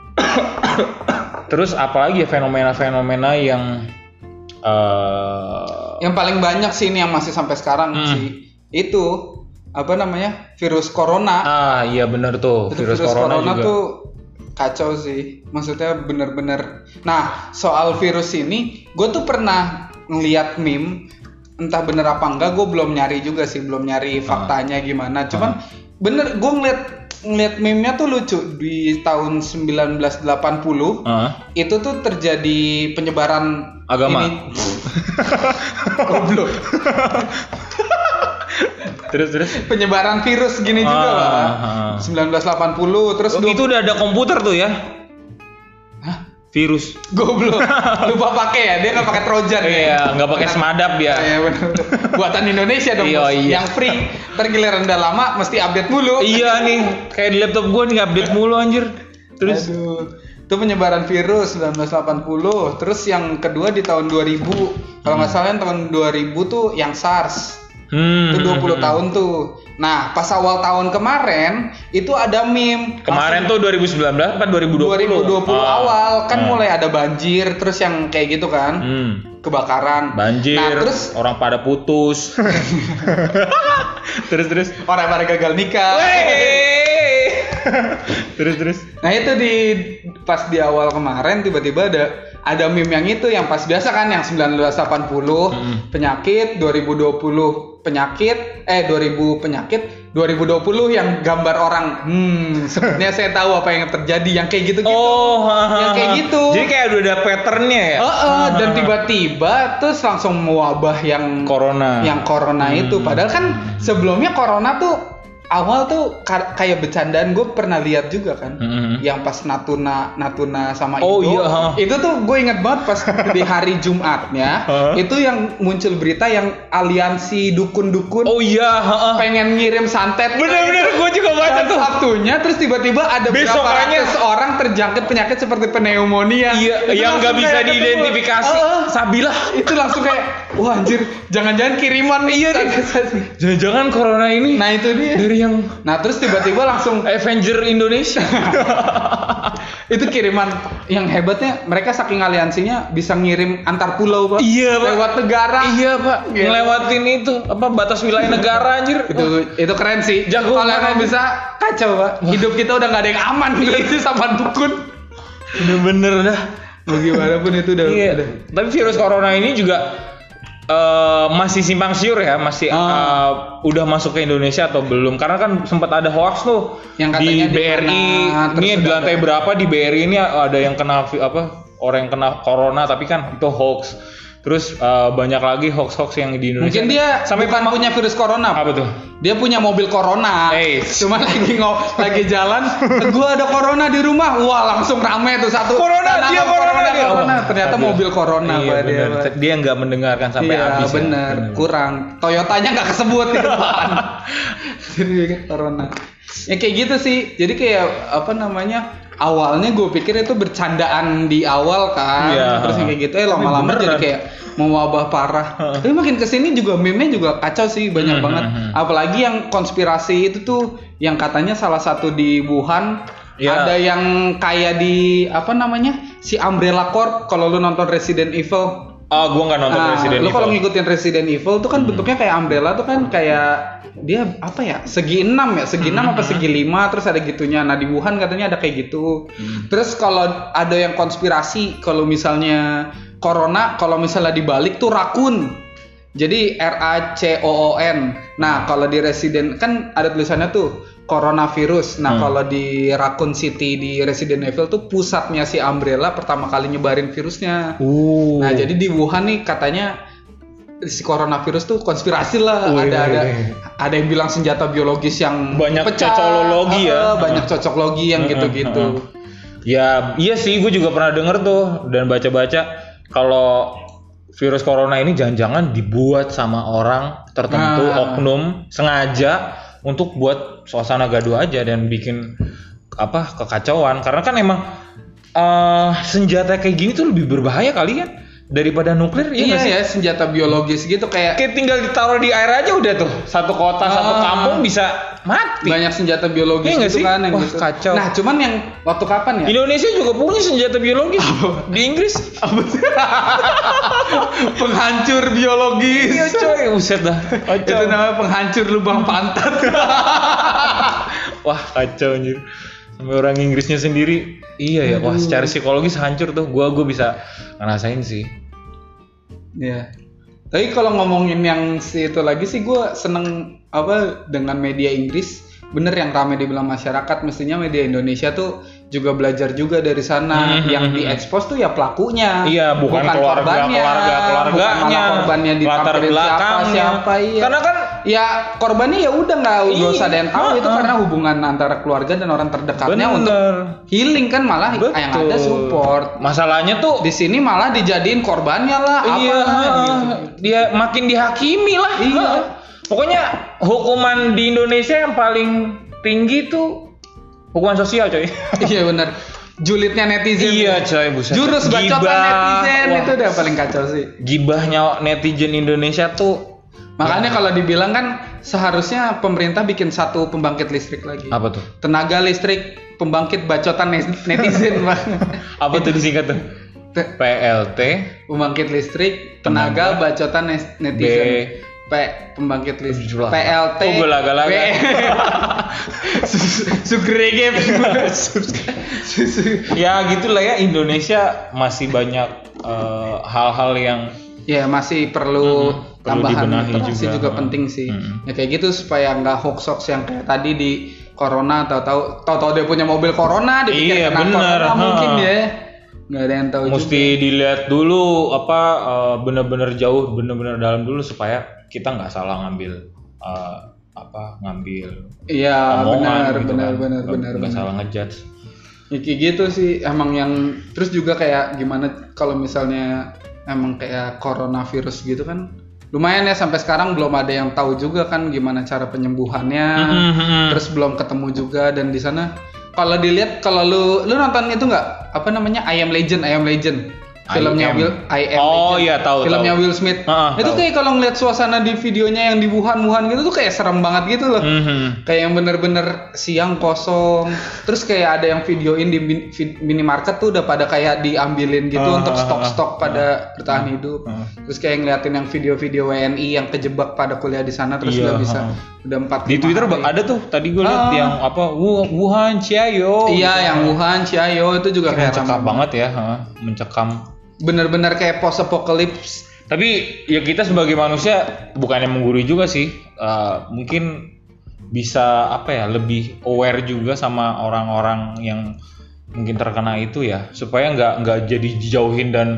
Speaker 1: Terus apalagi ya fenomena-fenomena yang eh
Speaker 2: yang paling banyak sih ini yang masih sampai sekarang
Speaker 1: Hmm.
Speaker 2: sih itu apa namanya virus corona
Speaker 1: ah iya bener tuh
Speaker 2: Itu
Speaker 1: virus, corona, juga.
Speaker 2: tuh kacau sih. Maksudnya bener-bener. Nah, soal virus ini, gue tuh pernah ngelihat meme entah bener apa enggak gue belum nyari juga sih belum
Speaker 1: Ah.
Speaker 2: nyari faktanya gimana cuman bener gue ngeliat ngeliat meme-nya tuh lucu di tahun 1980
Speaker 1: Heeh.
Speaker 2: itu tuh terjadi penyebaran
Speaker 1: Agama. (laughs)
Speaker 2: ini. Goblok.
Speaker 1: terus terus.
Speaker 2: penyebaran virus gini juga
Speaker 1: Ah, ah.
Speaker 2: lah 1980 terus
Speaker 1: Oh,
Speaker 2: dua-
Speaker 1: itu udah ada komputer tuh ya?
Speaker 2: Hah?
Speaker 1: Virus.
Speaker 2: (laughs) Goblok. Lupa pakai ya, dia nggak pakai Trojan ya.
Speaker 1: Iya, nggak pakai
Speaker 2: Karena-
Speaker 1: semadap dia.
Speaker 2: Iya benar. Buatan Indonesia dong,
Speaker 1: Iya,
Speaker 2: Bos. Ya,
Speaker 1: iya.
Speaker 2: (laughs) Yang free. Tergiliran udah lama mesti update mulu.
Speaker 1: iya nih, kayak di laptop gua nih update mulu anjir. Terus
Speaker 2: Aduh. Itu penyebaran virus 1980. Terus yang kedua di tahun 2000. Kalau nggak salah yang tahun 2000 tuh yang SARS.
Speaker 1: hmm.
Speaker 2: Itu 20 tahun tuh. Nah, pas awal tahun kemarin itu ada meme
Speaker 1: Kemarin tuh 2019 apa 2020?
Speaker 2: 2020
Speaker 1: Ah.
Speaker 2: awal kan
Speaker 1: Ah.
Speaker 2: mulai ada banjir terus yang kayak gitu kan
Speaker 1: Hmm.
Speaker 2: kebakaran
Speaker 1: Banjir,
Speaker 2: nah terus
Speaker 1: orang pada
Speaker 2: (laughs)
Speaker 1: putus. terus terus.
Speaker 2: orang pada gagal nikah.
Speaker 1: Wey! (laughs) terus terus.
Speaker 2: Nah itu di pas di awal kemarin tiba-tiba ada ada meme yang itu yang pas biasa kan yang 1980
Speaker 1: Mm.
Speaker 2: penyakit 2020 penyakit eh 2000 penyakit 2020 yang gambar orang hmm sepertinya saya tahu apa yang terjadi yang kayak gitu gitu
Speaker 1: Oh,
Speaker 2: Yang kayak gitu.
Speaker 1: Jadi kayak udah ada patternnya ya.
Speaker 2: dan tiba-tiba terus langsung mewabah yang
Speaker 1: Corona. Hmm.
Speaker 2: yang corona itu padahal kan sebelumnya corona tuh awal tuh ka- kayak bercandaan gue pernah lihat juga kan
Speaker 1: Mhm.
Speaker 2: yang pas Natuna Natuna sama
Speaker 1: Oh, iya,
Speaker 2: Indo
Speaker 1: ha.
Speaker 2: itu tuh gue inget banget pas di hari Jumatnya
Speaker 1: Ha?
Speaker 2: itu yang muncul berita yang aliansi dukun-dukun
Speaker 1: Oh iya, heeh.
Speaker 2: pengen ngirim santet
Speaker 1: Bener-bener gue juga baca
Speaker 2: Dan
Speaker 1: tuh.
Speaker 2: Sabtunya terus tiba-tiba ada berapa
Speaker 1: Besokannya.
Speaker 2: ratus orang terjangkit penyakit seperti pneumonia
Speaker 1: Iya,
Speaker 2: Itu
Speaker 1: yang nggak
Speaker 2: langsung
Speaker 1: bisa
Speaker 2: kayak gitu, ketemu.
Speaker 1: diidentifikasi.
Speaker 2: Ah,
Speaker 1: Sabilah.
Speaker 2: itu langsung kayak wah anjir jangan-jangan kiriman iya
Speaker 1: Jangan-jangan corona ini
Speaker 2: (laughs) nah itu dia
Speaker 1: dari yang
Speaker 2: nah terus tiba-tiba langsung
Speaker 1: Avenger Indonesia.
Speaker 2: itu kiriman yang hebatnya mereka saking aliansinya bisa ngirim antar pulau pak
Speaker 1: (laughs) Iya, Pak.
Speaker 2: lewat negara
Speaker 1: iya pak,
Speaker 2: Iya.
Speaker 1: ngelewatin itu apa batas wilayah negara anjir.
Speaker 2: itu itu keren sih
Speaker 1: Jago
Speaker 2: kalau
Speaker 1: banget.
Speaker 2: emang bisa kacau pak hidup kita udah nggak ada yang aman
Speaker 1: Iya.
Speaker 2: itu (laughs) sama dukun
Speaker 1: Bener-bener dah.
Speaker 2: bagaimanapun itu udah
Speaker 1: Iya.
Speaker 2: udah.
Speaker 1: Tapi virus corona ini juga eh, masih simpang siur ya, masih
Speaker 2: Ah.
Speaker 1: eh, udah masuk ke Indonesia atau belum? Karena kan sempat ada hoax tuh
Speaker 2: Yang
Speaker 1: di
Speaker 2: katanya di
Speaker 1: BRI.
Speaker 2: mana, terus
Speaker 1: ini di
Speaker 2: udah
Speaker 1: lantai
Speaker 2: ada.
Speaker 1: berapa di BRI ini ada yang kena vi- apa? Orang yang kena corona tapi kan itu hoax. Terus eh, banyak lagi hoax-hoax yang di Indonesia.
Speaker 2: mungkin dia
Speaker 1: sampai
Speaker 2: bukan
Speaker 1: pemah-
Speaker 2: punya virus corona
Speaker 1: apa tuh?
Speaker 2: dia punya mobil corona
Speaker 1: Eh.
Speaker 2: cuma lagi ngo lagi
Speaker 1: (laughs)
Speaker 2: jalan gua ada corona di rumah wah langsung rame tuh satu
Speaker 1: Corona,
Speaker 2: Tanam
Speaker 1: dia corona, dia.
Speaker 2: corona.
Speaker 1: Oh,
Speaker 2: ternyata
Speaker 1: aduh.
Speaker 2: mobil corona
Speaker 1: Iya,
Speaker 2: Pak, dia
Speaker 1: bener.
Speaker 2: Pak.
Speaker 1: Dia nggak mendengarkan sampai
Speaker 2: iya,
Speaker 1: habis. ya.
Speaker 2: bener, kurang. Toyotanya nggak
Speaker 1: (laughs)
Speaker 2: kesebut di depan. Jadi kayak corona. Ya kayak gitu sih. Jadi kayak apa namanya? Awalnya gue pikir itu bercandaan di awal kan,
Speaker 1: Iya.
Speaker 2: terus yang kayak gitu. Eh
Speaker 1: Tapi
Speaker 2: lama-lama
Speaker 1: beneran.
Speaker 2: jadi kayak mewabah
Speaker 1: (laughs)
Speaker 2: parah. Tapi makin kesini juga meme-nya juga kacau sih banyak
Speaker 1: Hmm,
Speaker 2: banget.
Speaker 1: hmm, hmm.
Speaker 2: Apalagi yang konspirasi itu tuh yang katanya salah satu di Wuhan
Speaker 1: Iya.
Speaker 2: ada yang kayak di apa namanya si Umbrella Corp kalau lu nonton Resident Evil
Speaker 1: Ah, gua nggak nonton
Speaker 2: Nah,
Speaker 1: Resident
Speaker 2: lu
Speaker 1: Evil. Hmm.
Speaker 2: kalau ngikutin Resident Evil tuh kan bentuknya kayak umbrella tuh kan kayak dia apa ya segi enam ya segi enam apa
Speaker 1: Hmm.
Speaker 2: segi lima terus ada gitunya nah di Wuhan katanya ada kayak gitu
Speaker 1: Hmm.
Speaker 2: terus kalau ada yang konspirasi kalau misalnya corona kalau misalnya dibalik tuh rakun jadi R A C O O N
Speaker 1: Hmm.
Speaker 2: nah kalau di Resident kan ada tulisannya tuh
Speaker 1: Hmm.
Speaker 2: coronavirus nah kalau di Raccoon City di Resident Evil tuh pusatnya si Umbrella pertama kali nyebarin virusnya
Speaker 1: Uh.
Speaker 2: Nah, jadi di Wuhan nih katanya si coronavirus tuh konspirasi lah.
Speaker 1: Wih, wih,
Speaker 2: ada ada
Speaker 1: wih.
Speaker 2: ada yang bilang senjata biologis yang
Speaker 1: Banyak cocokologi ya.
Speaker 2: Eh, banyak cocokologi yang
Speaker 1: Heeh,
Speaker 2: gitu-gitu.
Speaker 1: heeh. Ya, iya sih, gue juga pernah denger tuh dan baca-baca kalau virus corona ini jangan-jangan dibuat sama orang tertentu
Speaker 2: Nah.
Speaker 1: oknum sengaja untuk buat suasana gaduh aja dan bikin apa kekacauan karena kan emang eh senjata kayak gini tuh lebih berbahaya kali kan daripada nuklir
Speaker 2: Iya
Speaker 1: iya nggak sih?
Speaker 2: ya, senjata biologis gitu kayak
Speaker 1: Kayak tinggal ditaruh di air aja udah tuh satu kota satu
Speaker 2: Ah.
Speaker 1: kampung bisa mati
Speaker 2: banyak senjata biologis
Speaker 1: Iya nggak
Speaker 2: gitu
Speaker 1: sih?
Speaker 2: kan yang
Speaker 1: Wah,
Speaker 2: gitu.
Speaker 1: kacau.
Speaker 2: Nah, cuman yang waktu kapan ya?
Speaker 1: Indonesia juga punya senjata biologis di Inggris (laughs)
Speaker 2: penghancur biologis.
Speaker 1: Iya coy, buset dah.
Speaker 2: Itu nah, namanya penghancur lubang pantat.
Speaker 1: Wah kacau anjir. Sampai orang Inggrisnya sendiri. Iya ya, wah secara psikologis hancur tuh. Gua gua bisa ngerasain sih.
Speaker 2: Iya. Tapi kalau ngomongin yang si itu lagi sih gue seneng apa dengan media Inggris. Bener yang rame dibilang masyarakat, mestinya media Indonesia tuh juga belajar juga dari sana.
Speaker 1: Mhm.
Speaker 2: Yang diekspos tuh ya pelakunya.
Speaker 1: Iya, bukan, keluarga, keluarga,
Speaker 2: bukan
Speaker 1: keluarganya,
Speaker 2: malah korbannya
Speaker 1: latar
Speaker 2: ditampilin siapa
Speaker 1: belakangnya.
Speaker 2: siapa iya.
Speaker 1: Karena kan
Speaker 2: ya korbannya ya udah nggak nggak
Speaker 1: Iya,
Speaker 2: usah ada yang tahu itu
Speaker 1: heeh.
Speaker 2: karena hubungan antara keluarga dan orang terdekatnya
Speaker 1: bener.
Speaker 2: untuk healing kan malah
Speaker 1: Betul.
Speaker 2: yang ada support.
Speaker 1: Masalahnya tuh
Speaker 2: Di sini malah dijadiin korbannya lah gitu. apa
Speaker 1: iya, heeh. dia makin dihakimi lah.
Speaker 2: Iya.
Speaker 1: Heeh. Pokoknya hukuman di Indonesia yang paling tinggi tuh hukuman sosial, coy.
Speaker 2: (laughs) Iya benar. Julidnya netizen.
Speaker 1: iya, coy, buset.
Speaker 2: Gitu. Jurus bacotan
Speaker 1: Gibah.
Speaker 2: netizen
Speaker 1: Wah,
Speaker 2: itu udah paling kacau sih.
Speaker 1: Gibahnya netizen Indonesia tuh Ya.
Speaker 2: Makanya kalau dibilang kan seharusnya pemerintah bikin satu pembangkit listrik lagi.
Speaker 1: apa tuh?
Speaker 2: Tenaga listrik pembangkit bacotan
Speaker 1: (laughs)
Speaker 2: nes- netizen, Bang.
Speaker 1: Apa tuh disingkat tuh?
Speaker 2: Te-
Speaker 1: PLT
Speaker 2: Pembangkit listrik tenaga bacotan nes- netizen.
Speaker 1: B-
Speaker 2: P pembangkit listrik
Speaker 1: Jumlah.
Speaker 2: PLT.
Speaker 1: Oh, gua laga-laga. (laughs)
Speaker 2: (laughs) B- Su- Sugregep.
Speaker 1: Iya.
Speaker 2: (laughs) Su- su-
Speaker 1: ya gitulah ya Indonesia masih banyak eh, hal-hal yang
Speaker 2: Ya masih perlu
Speaker 1: Mm-mm, Hmm, perlu
Speaker 2: tambahan
Speaker 1: dibenahi
Speaker 2: literasi
Speaker 1: juga. Hmm.
Speaker 2: juga. penting sih.
Speaker 1: Mm-mm.
Speaker 2: Ya kayak gitu supaya nggak hoax hoax yang kayak tadi di corona tahu-tahu tahu-tahu dia punya mobil corona dipikir
Speaker 1: Iya,
Speaker 2: kena
Speaker 1: bener.
Speaker 2: corona mungkin
Speaker 1: Ha.
Speaker 2: ya. Nggak ada yang tahu
Speaker 1: mesti dilihat dulu apa eh, benar-benar jauh benar-benar dalam dulu supaya kita nggak salah ngambil eh, apa ngambil
Speaker 2: juga. Iya, benar
Speaker 1: omongan gitu
Speaker 2: benar
Speaker 1: kan.
Speaker 2: benar
Speaker 1: Nggak-
Speaker 2: benar
Speaker 1: nggak
Speaker 2: benar.
Speaker 1: salah ngejudge
Speaker 2: Ya, kayak gitu sih emang yang terus juga kayak gimana kalau misalnya emang kayak coronavirus gitu kan lumayan ya sampai sekarang belum ada yang tahu juga kan gimana cara penyembuhannya.
Speaker 1: Mm-mm, mm-mm.
Speaker 2: Ah. terus belum ketemu juga dan di sana kalau dilihat kalau lu lu nonton itu nggak apa namanya I Am Legend I Am Legend
Speaker 1: I
Speaker 2: filmnya
Speaker 1: Am.
Speaker 2: Will I Am
Speaker 1: Oh,
Speaker 2: Legend.
Speaker 1: iya, tahu,
Speaker 2: filmnya
Speaker 1: tahu.
Speaker 2: Will Smith
Speaker 1: Ah,
Speaker 2: itu
Speaker 1: tahu.
Speaker 2: kayak kalau ngeliat suasana di videonya yang di Wuhan Wuhan gitu tuh kayak serem banget gitu loh
Speaker 1: Mhm.
Speaker 2: kayak yang bener-bener siang kosong terus kayak ada yang videoin di min- vid- minimarket tuh udah pada kayak diambilin gitu
Speaker 1: Ah, ah,
Speaker 2: untuk stok-stok
Speaker 1: ah,
Speaker 2: pada bertahan hidup
Speaker 1: ah.
Speaker 2: terus kayak ngeliatin yang video-video WNI yang kejebak pada kuliah di sana terus
Speaker 1: Iya,
Speaker 2: nggak bisa
Speaker 1: ah.
Speaker 2: udah empat
Speaker 1: di
Speaker 2: lima
Speaker 1: Twitter
Speaker 2: hari.
Speaker 1: ada tuh tadi gue lihat
Speaker 2: Ah.
Speaker 1: yang apa "Wu- Wuhan Ciao
Speaker 2: Iya, yang Wuhan, Ciayo itu juga kayak
Speaker 1: mencekam
Speaker 2: ramai.
Speaker 1: banget ya ha, mencekam
Speaker 2: Bener-bener kayak post apocalypse.
Speaker 1: Tapi ya kita sebagai manusia bukannya menggurui juga sih, Eh, mungkin bisa apa ya lebih aware juga sama orang-orang yang mungkin terkena itu ya, supaya nggak nggak jadi dijauhin dan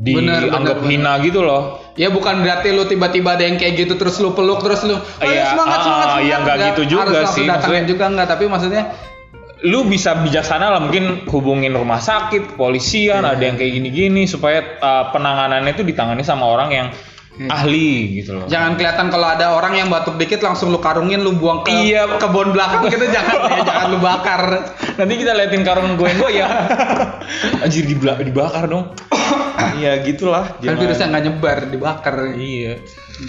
Speaker 2: Benar,
Speaker 1: dianggap
Speaker 2: benar,
Speaker 1: hina gitu loh.
Speaker 2: Ya bukan berarti lu tiba-tiba ada yang kayak gitu terus lu peluk terus lu
Speaker 1: Iya, ah, iya, nggak gitu juga
Speaker 2: harus
Speaker 1: sih,
Speaker 2: langsung datangin
Speaker 1: maksudnya.
Speaker 2: juga nggak tapi maksudnya
Speaker 1: Lu bisa bijaksana lah mungkin hubungin rumah sakit, kepolisian, ada yang kayak gini-gini supaya eh, penanganannya itu ditangani sama orang yang
Speaker 2: Iya.
Speaker 1: ahli gitu loh.
Speaker 2: jangan kelihatan kalau ada orang yang batuk dikit langsung lu karungin lu buang ke
Speaker 1: Iya.
Speaker 2: kebun belakang
Speaker 1: (laughs)
Speaker 2: gitu jangan ya, jangan lu bakar.
Speaker 1: Nanti kita liatin karung gue gue (laughs) ya. Anjir dibla- dibakar dong. (coughs) Iya gitulah.
Speaker 2: Kan
Speaker 1: jangan-
Speaker 2: virusnya nggak nyebar dibakar.
Speaker 1: Iya.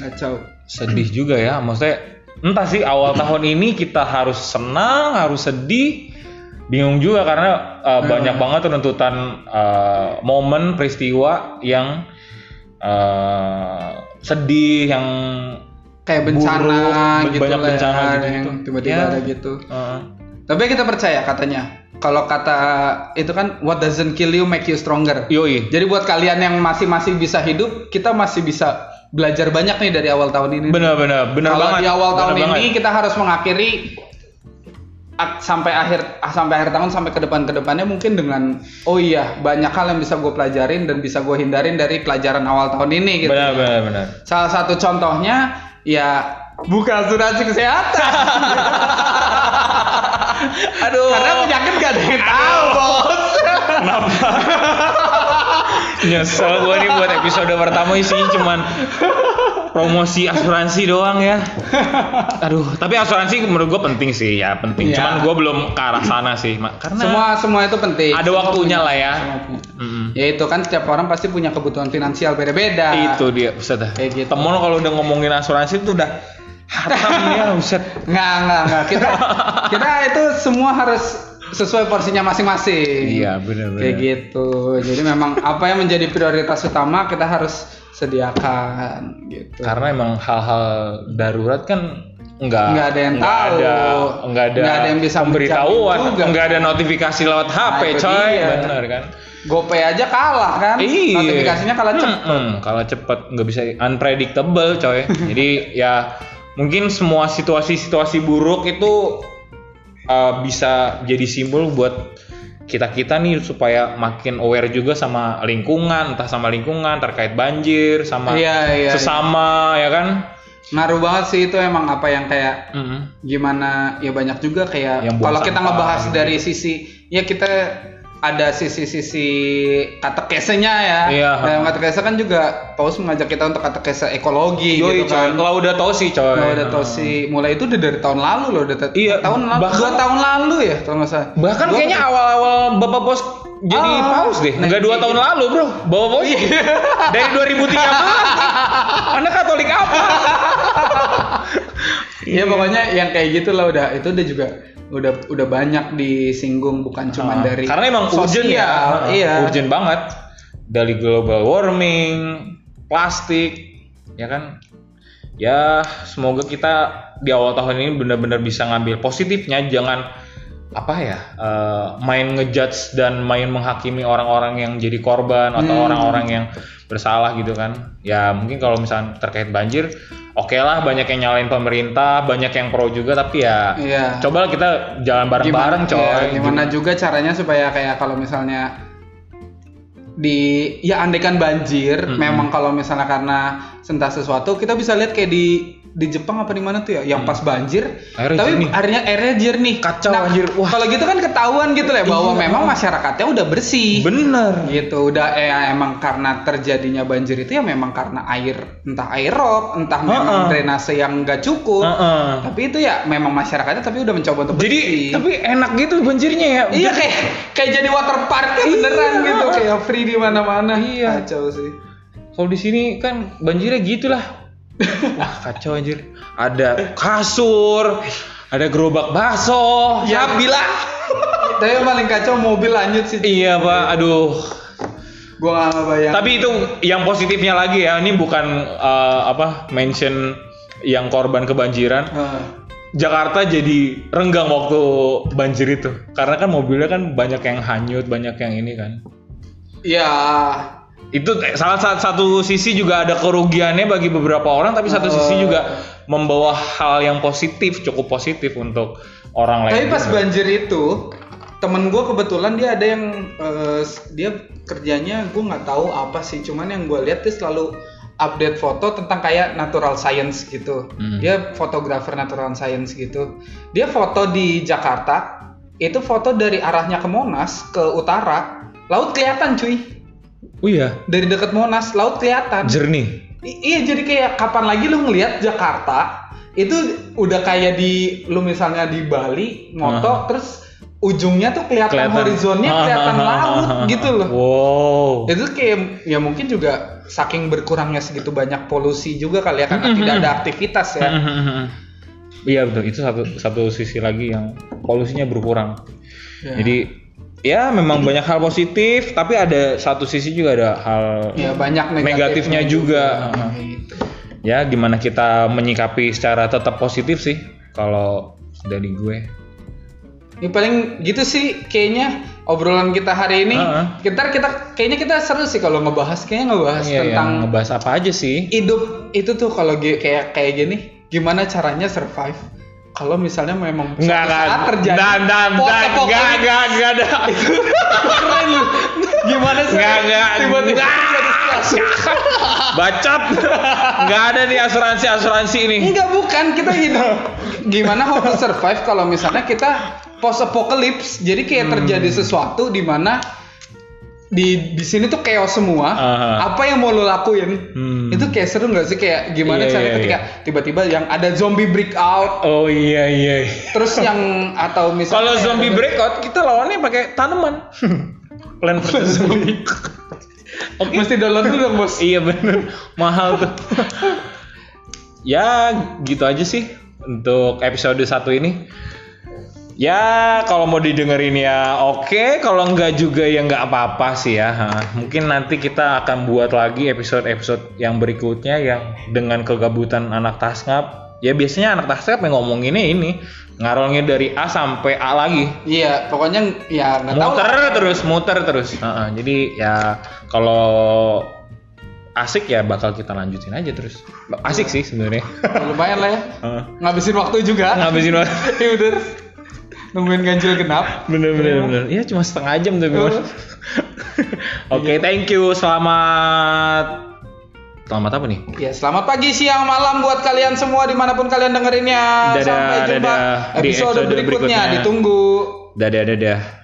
Speaker 2: Kacau.
Speaker 1: Sedih juga ya. Maksudnya entah sih awal tahun ini kita harus senang, harus sedih, bingung juga karena
Speaker 2: Hmm.
Speaker 1: uh, banyak banget tuntutan uh, momen peristiwa yang uh, sedih yang
Speaker 2: Kayak bencana
Speaker 1: Buruk,
Speaker 2: gitu
Speaker 1: banyak
Speaker 2: lah
Speaker 1: bencana
Speaker 2: ya,
Speaker 1: gitu-gitu.
Speaker 2: yang tiba-tiba
Speaker 1: Ya.
Speaker 2: ada gitu.
Speaker 1: uh,
Speaker 2: Tapi kita percaya katanya. Kalau kata itu kan what doesn't kill you make you stronger.
Speaker 1: yoi.
Speaker 2: Jadi buat kalian yang masih masih bisa hidup, kita masih bisa belajar banyak nih dari awal tahun ini.
Speaker 1: Bener-bener, bener
Speaker 2: Kalau
Speaker 1: banget.
Speaker 2: di awal
Speaker 1: bener
Speaker 2: tahun
Speaker 1: banget.
Speaker 2: ini gitu kita harus mengakhiri ak- sampai akhir ah, sampai akhir tahun sampai ke depan ke depannya mungkin dengan oh iya banyak hal yang bisa gue pelajarin dan bisa gue hindarin dari pelajaran awal tahun ini gitu.
Speaker 1: Bener-bener.
Speaker 2: Salah satu contohnya ya buka asuransi kesehatan.
Speaker 1: Aduh.
Speaker 2: Karena penyakit gak ada yang tahu, bos.
Speaker 1: Kenapa? Nyesel gue nih buat episode pertama isinya cuman promosi asuransi doang ya. Aduh, tapi asuransi menurut gue penting sih ya penting.
Speaker 2: Iya.
Speaker 1: Cuman gue belum ke arah sana sih, Ma. karena
Speaker 2: Semua semua itu penting.
Speaker 1: ada waktunya lah ya.
Speaker 2: Semua punya.
Speaker 1: Mm-mm.
Speaker 2: Ya itu kan setiap orang pasti punya kebutuhan finansial beda-beda.
Speaker 1: Itu dia, buset dah.
Speaker 2: Iya. Kayak gitu.
Speaker 1: Temen kalau udah ngomongin asuransi itu udah hatam
Speaker 2: (laughs)
Speaker 1: ya, buset.
Speaker 2: Nggak, nggak, nggak.
Speaker 1: (laughs)
Speaker 2: Kita, kita itu semua harus sesuai porsinya masing-masing.
Speaker 1: Iya, benar-benar.
Speaker 2: Kayak gitu. Jadi memang apa yang menjadi prioritas utama kita harus sediakan gitu.
Speaker 1: Karena emang hal-hal darurat kan nggak
Speaker 2: Nggak ada yang
Speaker 1: nggak
Speaker 2: tahu.
Speaker 1: ada nggak ada,
Speaker 2: Nggak ada yang bisa
Speaker 1: pemberitahuan
Speaker 2: menjamin juga. Nah,
Speaker 1: nggak ada notifikasi lewat HP
Speaker 2: itu
Speaker 1: coy
Speaker 2: dia.
Speaker 1: bener kan
Speaker 2: GoPay aja kalah kan?
Speaker 1: Iya.
Speaker 2: Notifikasinya kalah cepet.
Speaker 1: Mm-mm, kalah cepet nggak bisa unpredictable
Speaker 2: (laughs)
Speaker 1: coy. Jadi ya mungkin semua situasi-situasi buruk itu uh, bisa jadi simbol buat kita kita nih supaya makin aware juga sama lingkungan, entah sama lingkungan terkait banjir, sama
Speaker 2: Iya, iya, iya.
Speaker 1: sesama ya kan.
Speaker 2: Ngaruh banget sih itu emang apa yang kayak
Speaker 1: Mm-mm.
Speaker 2: gimana ya banyak juga kayak
Speaker 1: Yang buang
Speaker 2: kalau kita
Speaker 1: sampah. gitu.
Speaker 2: ngebahas dari sisi ya kita ada sisi-sisi katekesenya ya.
Speaker 1: Iya.
Speaker 2: Dalam katekese kan juga Paus mengajak kita untuk katekese ekologi
Speaker 1: Yoi,
Speaker 2: gitu
Speaker 1: coy.
Speaker 2: kan.
Speaker 1: Kalau udah tau sih coy.
Speaker 2: Nah, udah tau sih mulai itu udah dari tahun lalu loh udah ta-
Speaker 1: Iya,
Speaker 2: tahun lalu
Speaker 1: bahkan-
Speaker 2: dua tahun lalu ya tahun masa
Speaker 1: Bahkan kayaknya awal-awal Bapak Bos jadi
Speaker 2: Ah,
Speaker 1: paus deh.
Speaker 2: nah,
Speaker 1: Enggak dua
Speaker 2: iya.
Speaker 1: tahun lalu, Bro. Bapak Bos. (laughs) Dari 2013.
Speaker 2: (laughs)
Speaker 1: Anda Katolik apa?
Speaker 2: ya pokoknya yang kayak gitu lah udah itu udah juga udah udah banyak disinggung bukan cuma
Speaker 1: Ah,
Speaker 2: dari
Speaker 1: Karena emang urgent ya.
Speaker 2: sosial,
Speaker 1: Ah,
Speaker 2: iya
Speaker 1: Urgent banget. Dari global warming, plastik, ya kan? Ya, semoga kita di awal tahun ini benar-benar bisa ngambil positifnya, jangan apa ya eh, main ngejudge dan main menghakimi orang-orang yang jadi korban atau
Speaker 2: Hmm.
Speaker 1: orang-orang yang bersalah gitu kan ya mungkin kalau misalnya terkait banjir oke lah banyak yang nyalain pemerintah banyak yang pro juga tapi ya
Speaker 2: Iya.
Speaker 1: cobalah kita jalan bareng-bareng coy
Speaker 2: ya, gimana juga caranya supaya kayak kalau misalnya di ya andaikan banjir
Speaker 1: Mm-mm.
Speaker 2: memang kalau misalnya karena sentuh sesuatu kita bisa lihat kayak di di Jepang apa di mana tuh ya yang pas banjir
Speaker 1: Mm. Airnya
Speaker 2: tapi
Speaker 1: jernih.
Speaker 2: airnya airnya jernih
Speaker 1: Kacau, anjir. Wah.
Speaker 2: kalau gitu kan ketahuan gitu lah ya, bahwa
Speaker 1: Iya.
Speaker 2: memang masyarakatnya udah bersih
Speaker 1: Bener.
Speaker 2: gitu udah eh, emang karena terjadinya banjir itu ya memang karena air entah air rob entah memang
Speaker 1: Heeh.
Speaker 2: drainase yang nggak cukup
Speaker 1: Heeh.
Speaker 2: tapi itu ya memang masyarakatnya tapi udah mencoba untuk
Speaker 1: Jadi
Speaker 2: bersih.
Speaker 1: tapi enak gitu banjirnya ya.
Speaker 2: iya kayak kayak jadi water park ya, beneran
Speaker 1: Iya.
Speaker 2: gitu kayak free di mana-mana
Speaker 1: Iya.
Speaker 2: kacau sih
Speaker 1: Kalau di sini kan banjirnya
Speaker 2: (laughs)
Speaker 1: gitulah. Wah kacau anjir. Ada kasur, ada gerobak bakso.
Speaker 2: Ya.
Speaker 1: bilang.
Speaker 2: tapi yang paling kacau mobil lanjut sih
Speaker 1: Iya pak, aduh.
Speaker 2: gua nggak bayang
Speaker 1: Tapi itu yang positifnya lagi ya. Ini bukan eh, apa mention yang korban kebanjiran.
Speaker 2: Nah.
Speaker 1: Jakarta jadi renggang waktu banjir itu karena kan mobilnya kan banyak yang hanyut banyak yang ini kan
Speaker 2: Iya
Speaker 1: itu eh, salah sa- satu sisi juga ada kerugiannya bagi beberapa orang tapi satu sisi
Speaker 2: Oh.
Speaker 1: juga membawa hal yang positif cukup positif untuk orang lain
Speaker 2: tapi pas
Speaker 1: juga.
Speaker 2: banjir itu temen gue kebetulan dia ada yang eh, dia kerjanya gue nggak tahu apa sih cuman yang gue lihat dia selalu update foto tentang kayak natural science gitu
Speaker 1: Hmm.
Speaker 2: dia fotografer natural science gitu dia foto di Jakarta itu foto dari arahnya ke Monas ke utara laut kelihatan cuy
Speaker 1: oh iya
Speaker 2: dari deket Monas laut kelihatan
Speaker 1: jernih
Speaker 2: I- iya jadi kayak kapan lagi lu ngelihat Jakarta itu udah kayak di lu misalnya di Bali moto
Speaker 1: Ah.
Speaker 2: terus ujungnya tuh kelihatan, horizonnya
Speaker 1: (laughs)
Speaker 2: kelihatan laut gitu loh.
Speaker 1: wow
Speaker 2: Itu kayak ya mungkin juga saking berkurangnya segitu banyak polusi juga kali ya karena
Speaker 1: Mm-mm.
Speaker 2: tidak ada aktivitas ya.
Speaker 1: (laughs) iya betul itu satu satu sisi lagi yang polusinya berkurang
Speaker 2: Ya.
Speaker 1: Hmm. jadi ya memang banyak hal positif tapi ada satu sisi juga ada hal
Speaker 2: ya banyak
Speaker 1: negatifnya juga.
Speaker 2: juga. Kayak gitu.
Speaker 1: ya gimana kita menyikapi secara tetap positif sih kalau dari gue
Speaker 2: Ya, paling gitu sih kayaknya obrolan kita hari ini.
Speaker 1: Ah.
Speaker 2: Kita kita kayaknya kita seru sih kalau ngebahas kayaknya ngebahas
Speaker 1: Iya,
Speaker 2: tentang
Speaker 1: yang ngebahas apa aja sih
Speaker 2: hidup itu tuh kalau gi- kayak kayak gini gimana caranya survive kalau misalnya memang suatu
Speaker 1: Enggak kan?
Speaker 2: saat terjadi Oh,
Speaker 1: Dan dan
Speaker 2: po-
Speaker 1: dan
Speaker 2: apokalip-
Speaker 1: enggak enggak enggak (laughs) ada.
Speaker 2: keren lu. gimana sih
Speaker 1: Enggak enggak.
Speaker 2: tiba-tiba ah, jadi slash.
Speaker 1: Bacot. Enggak ada di asuransi-asuransi ini.
Speaker 2: enggak bukan kita hidup gimana how to survive kalau misalnya kita post apocalypse jadi kayak
Speaker 1: Hmm.
Speaker 2: terjadi sesuatu di mana di di sini tuh chaos semua
Speaker 1: Aha.
Speaker 2: apa yang mau lo lakuin
Speaker 1: Hmm.
Speaker 2: itu kayak seru nggak sih kayak gimana
Speaker 1: Iya,
Speaker 2: caranya
Speaker 1: iya,
Speaker 2: ketika tiba-tiba yang ada zombie breakout
Speaker 1: Oh iya iya.
Speaker 2: Terus yang atau misalnya
Speaker 1: Kalau zombie breakout kita lawannya pakai tanaman. (laughs) Plan versus zombie.
Speaker 2: mesti download dulu dong bos.
Speaker 1: iya bener mahal (laughs) tuh. ya gitu aja sih untuk episode satu ini. Ya kalau mau didengerin ya oke, kalau enggak juga ya nggak apa-apa sih ya. Ha, Mungkin nanti kita akan buat lagi episode-episode yang berikutnya yang dengan kegabutan anak tasngap ya biasanya anak tasep yang ngomong ini ini ngarolnya dari A sampai A lagi
Speaker 2: Iya, pokoknya ya nggak tahu.
Speaker 1: muter
Speaker 2: lah.
Speaker 1: terus muter terus Heeh, jadi ya kalau asik ya bakal kita lanjutin aja terus asik sih
Speaker 2: (laughs)
Speaker 1: sebenarnya
Speaker 2: Lumayan lah ya.
Speaker 1: Heeh.
Speaker 2: Ngabisin waktu juga.
Speaker 1: ngabisin waktu
Speaker 2: (laughs) Iya bener. Nungguin ganjil genap.
Speaker 1: bener bener bener ya cuma setengah jam tapi Mon.
Speaker 2: Iya.
Speaker 1: oke (laughs) thank you selamat selamat apa nih
Speaker 2: Ya, selamat pagi, siang, malam buat kalian semua dimanapun kalian dengerinnya.
Speaker 1: Dadah,
Speaker 2: Sampai jumpa
Speaker 1: dadah. Di
Speaker 2: episode,
Speaker 1: episode
Speaker 2: berikutnya.
Speaker 1: berikutnya.
Speaker 2: Ditunggu.
Speaker 1: dadah dadah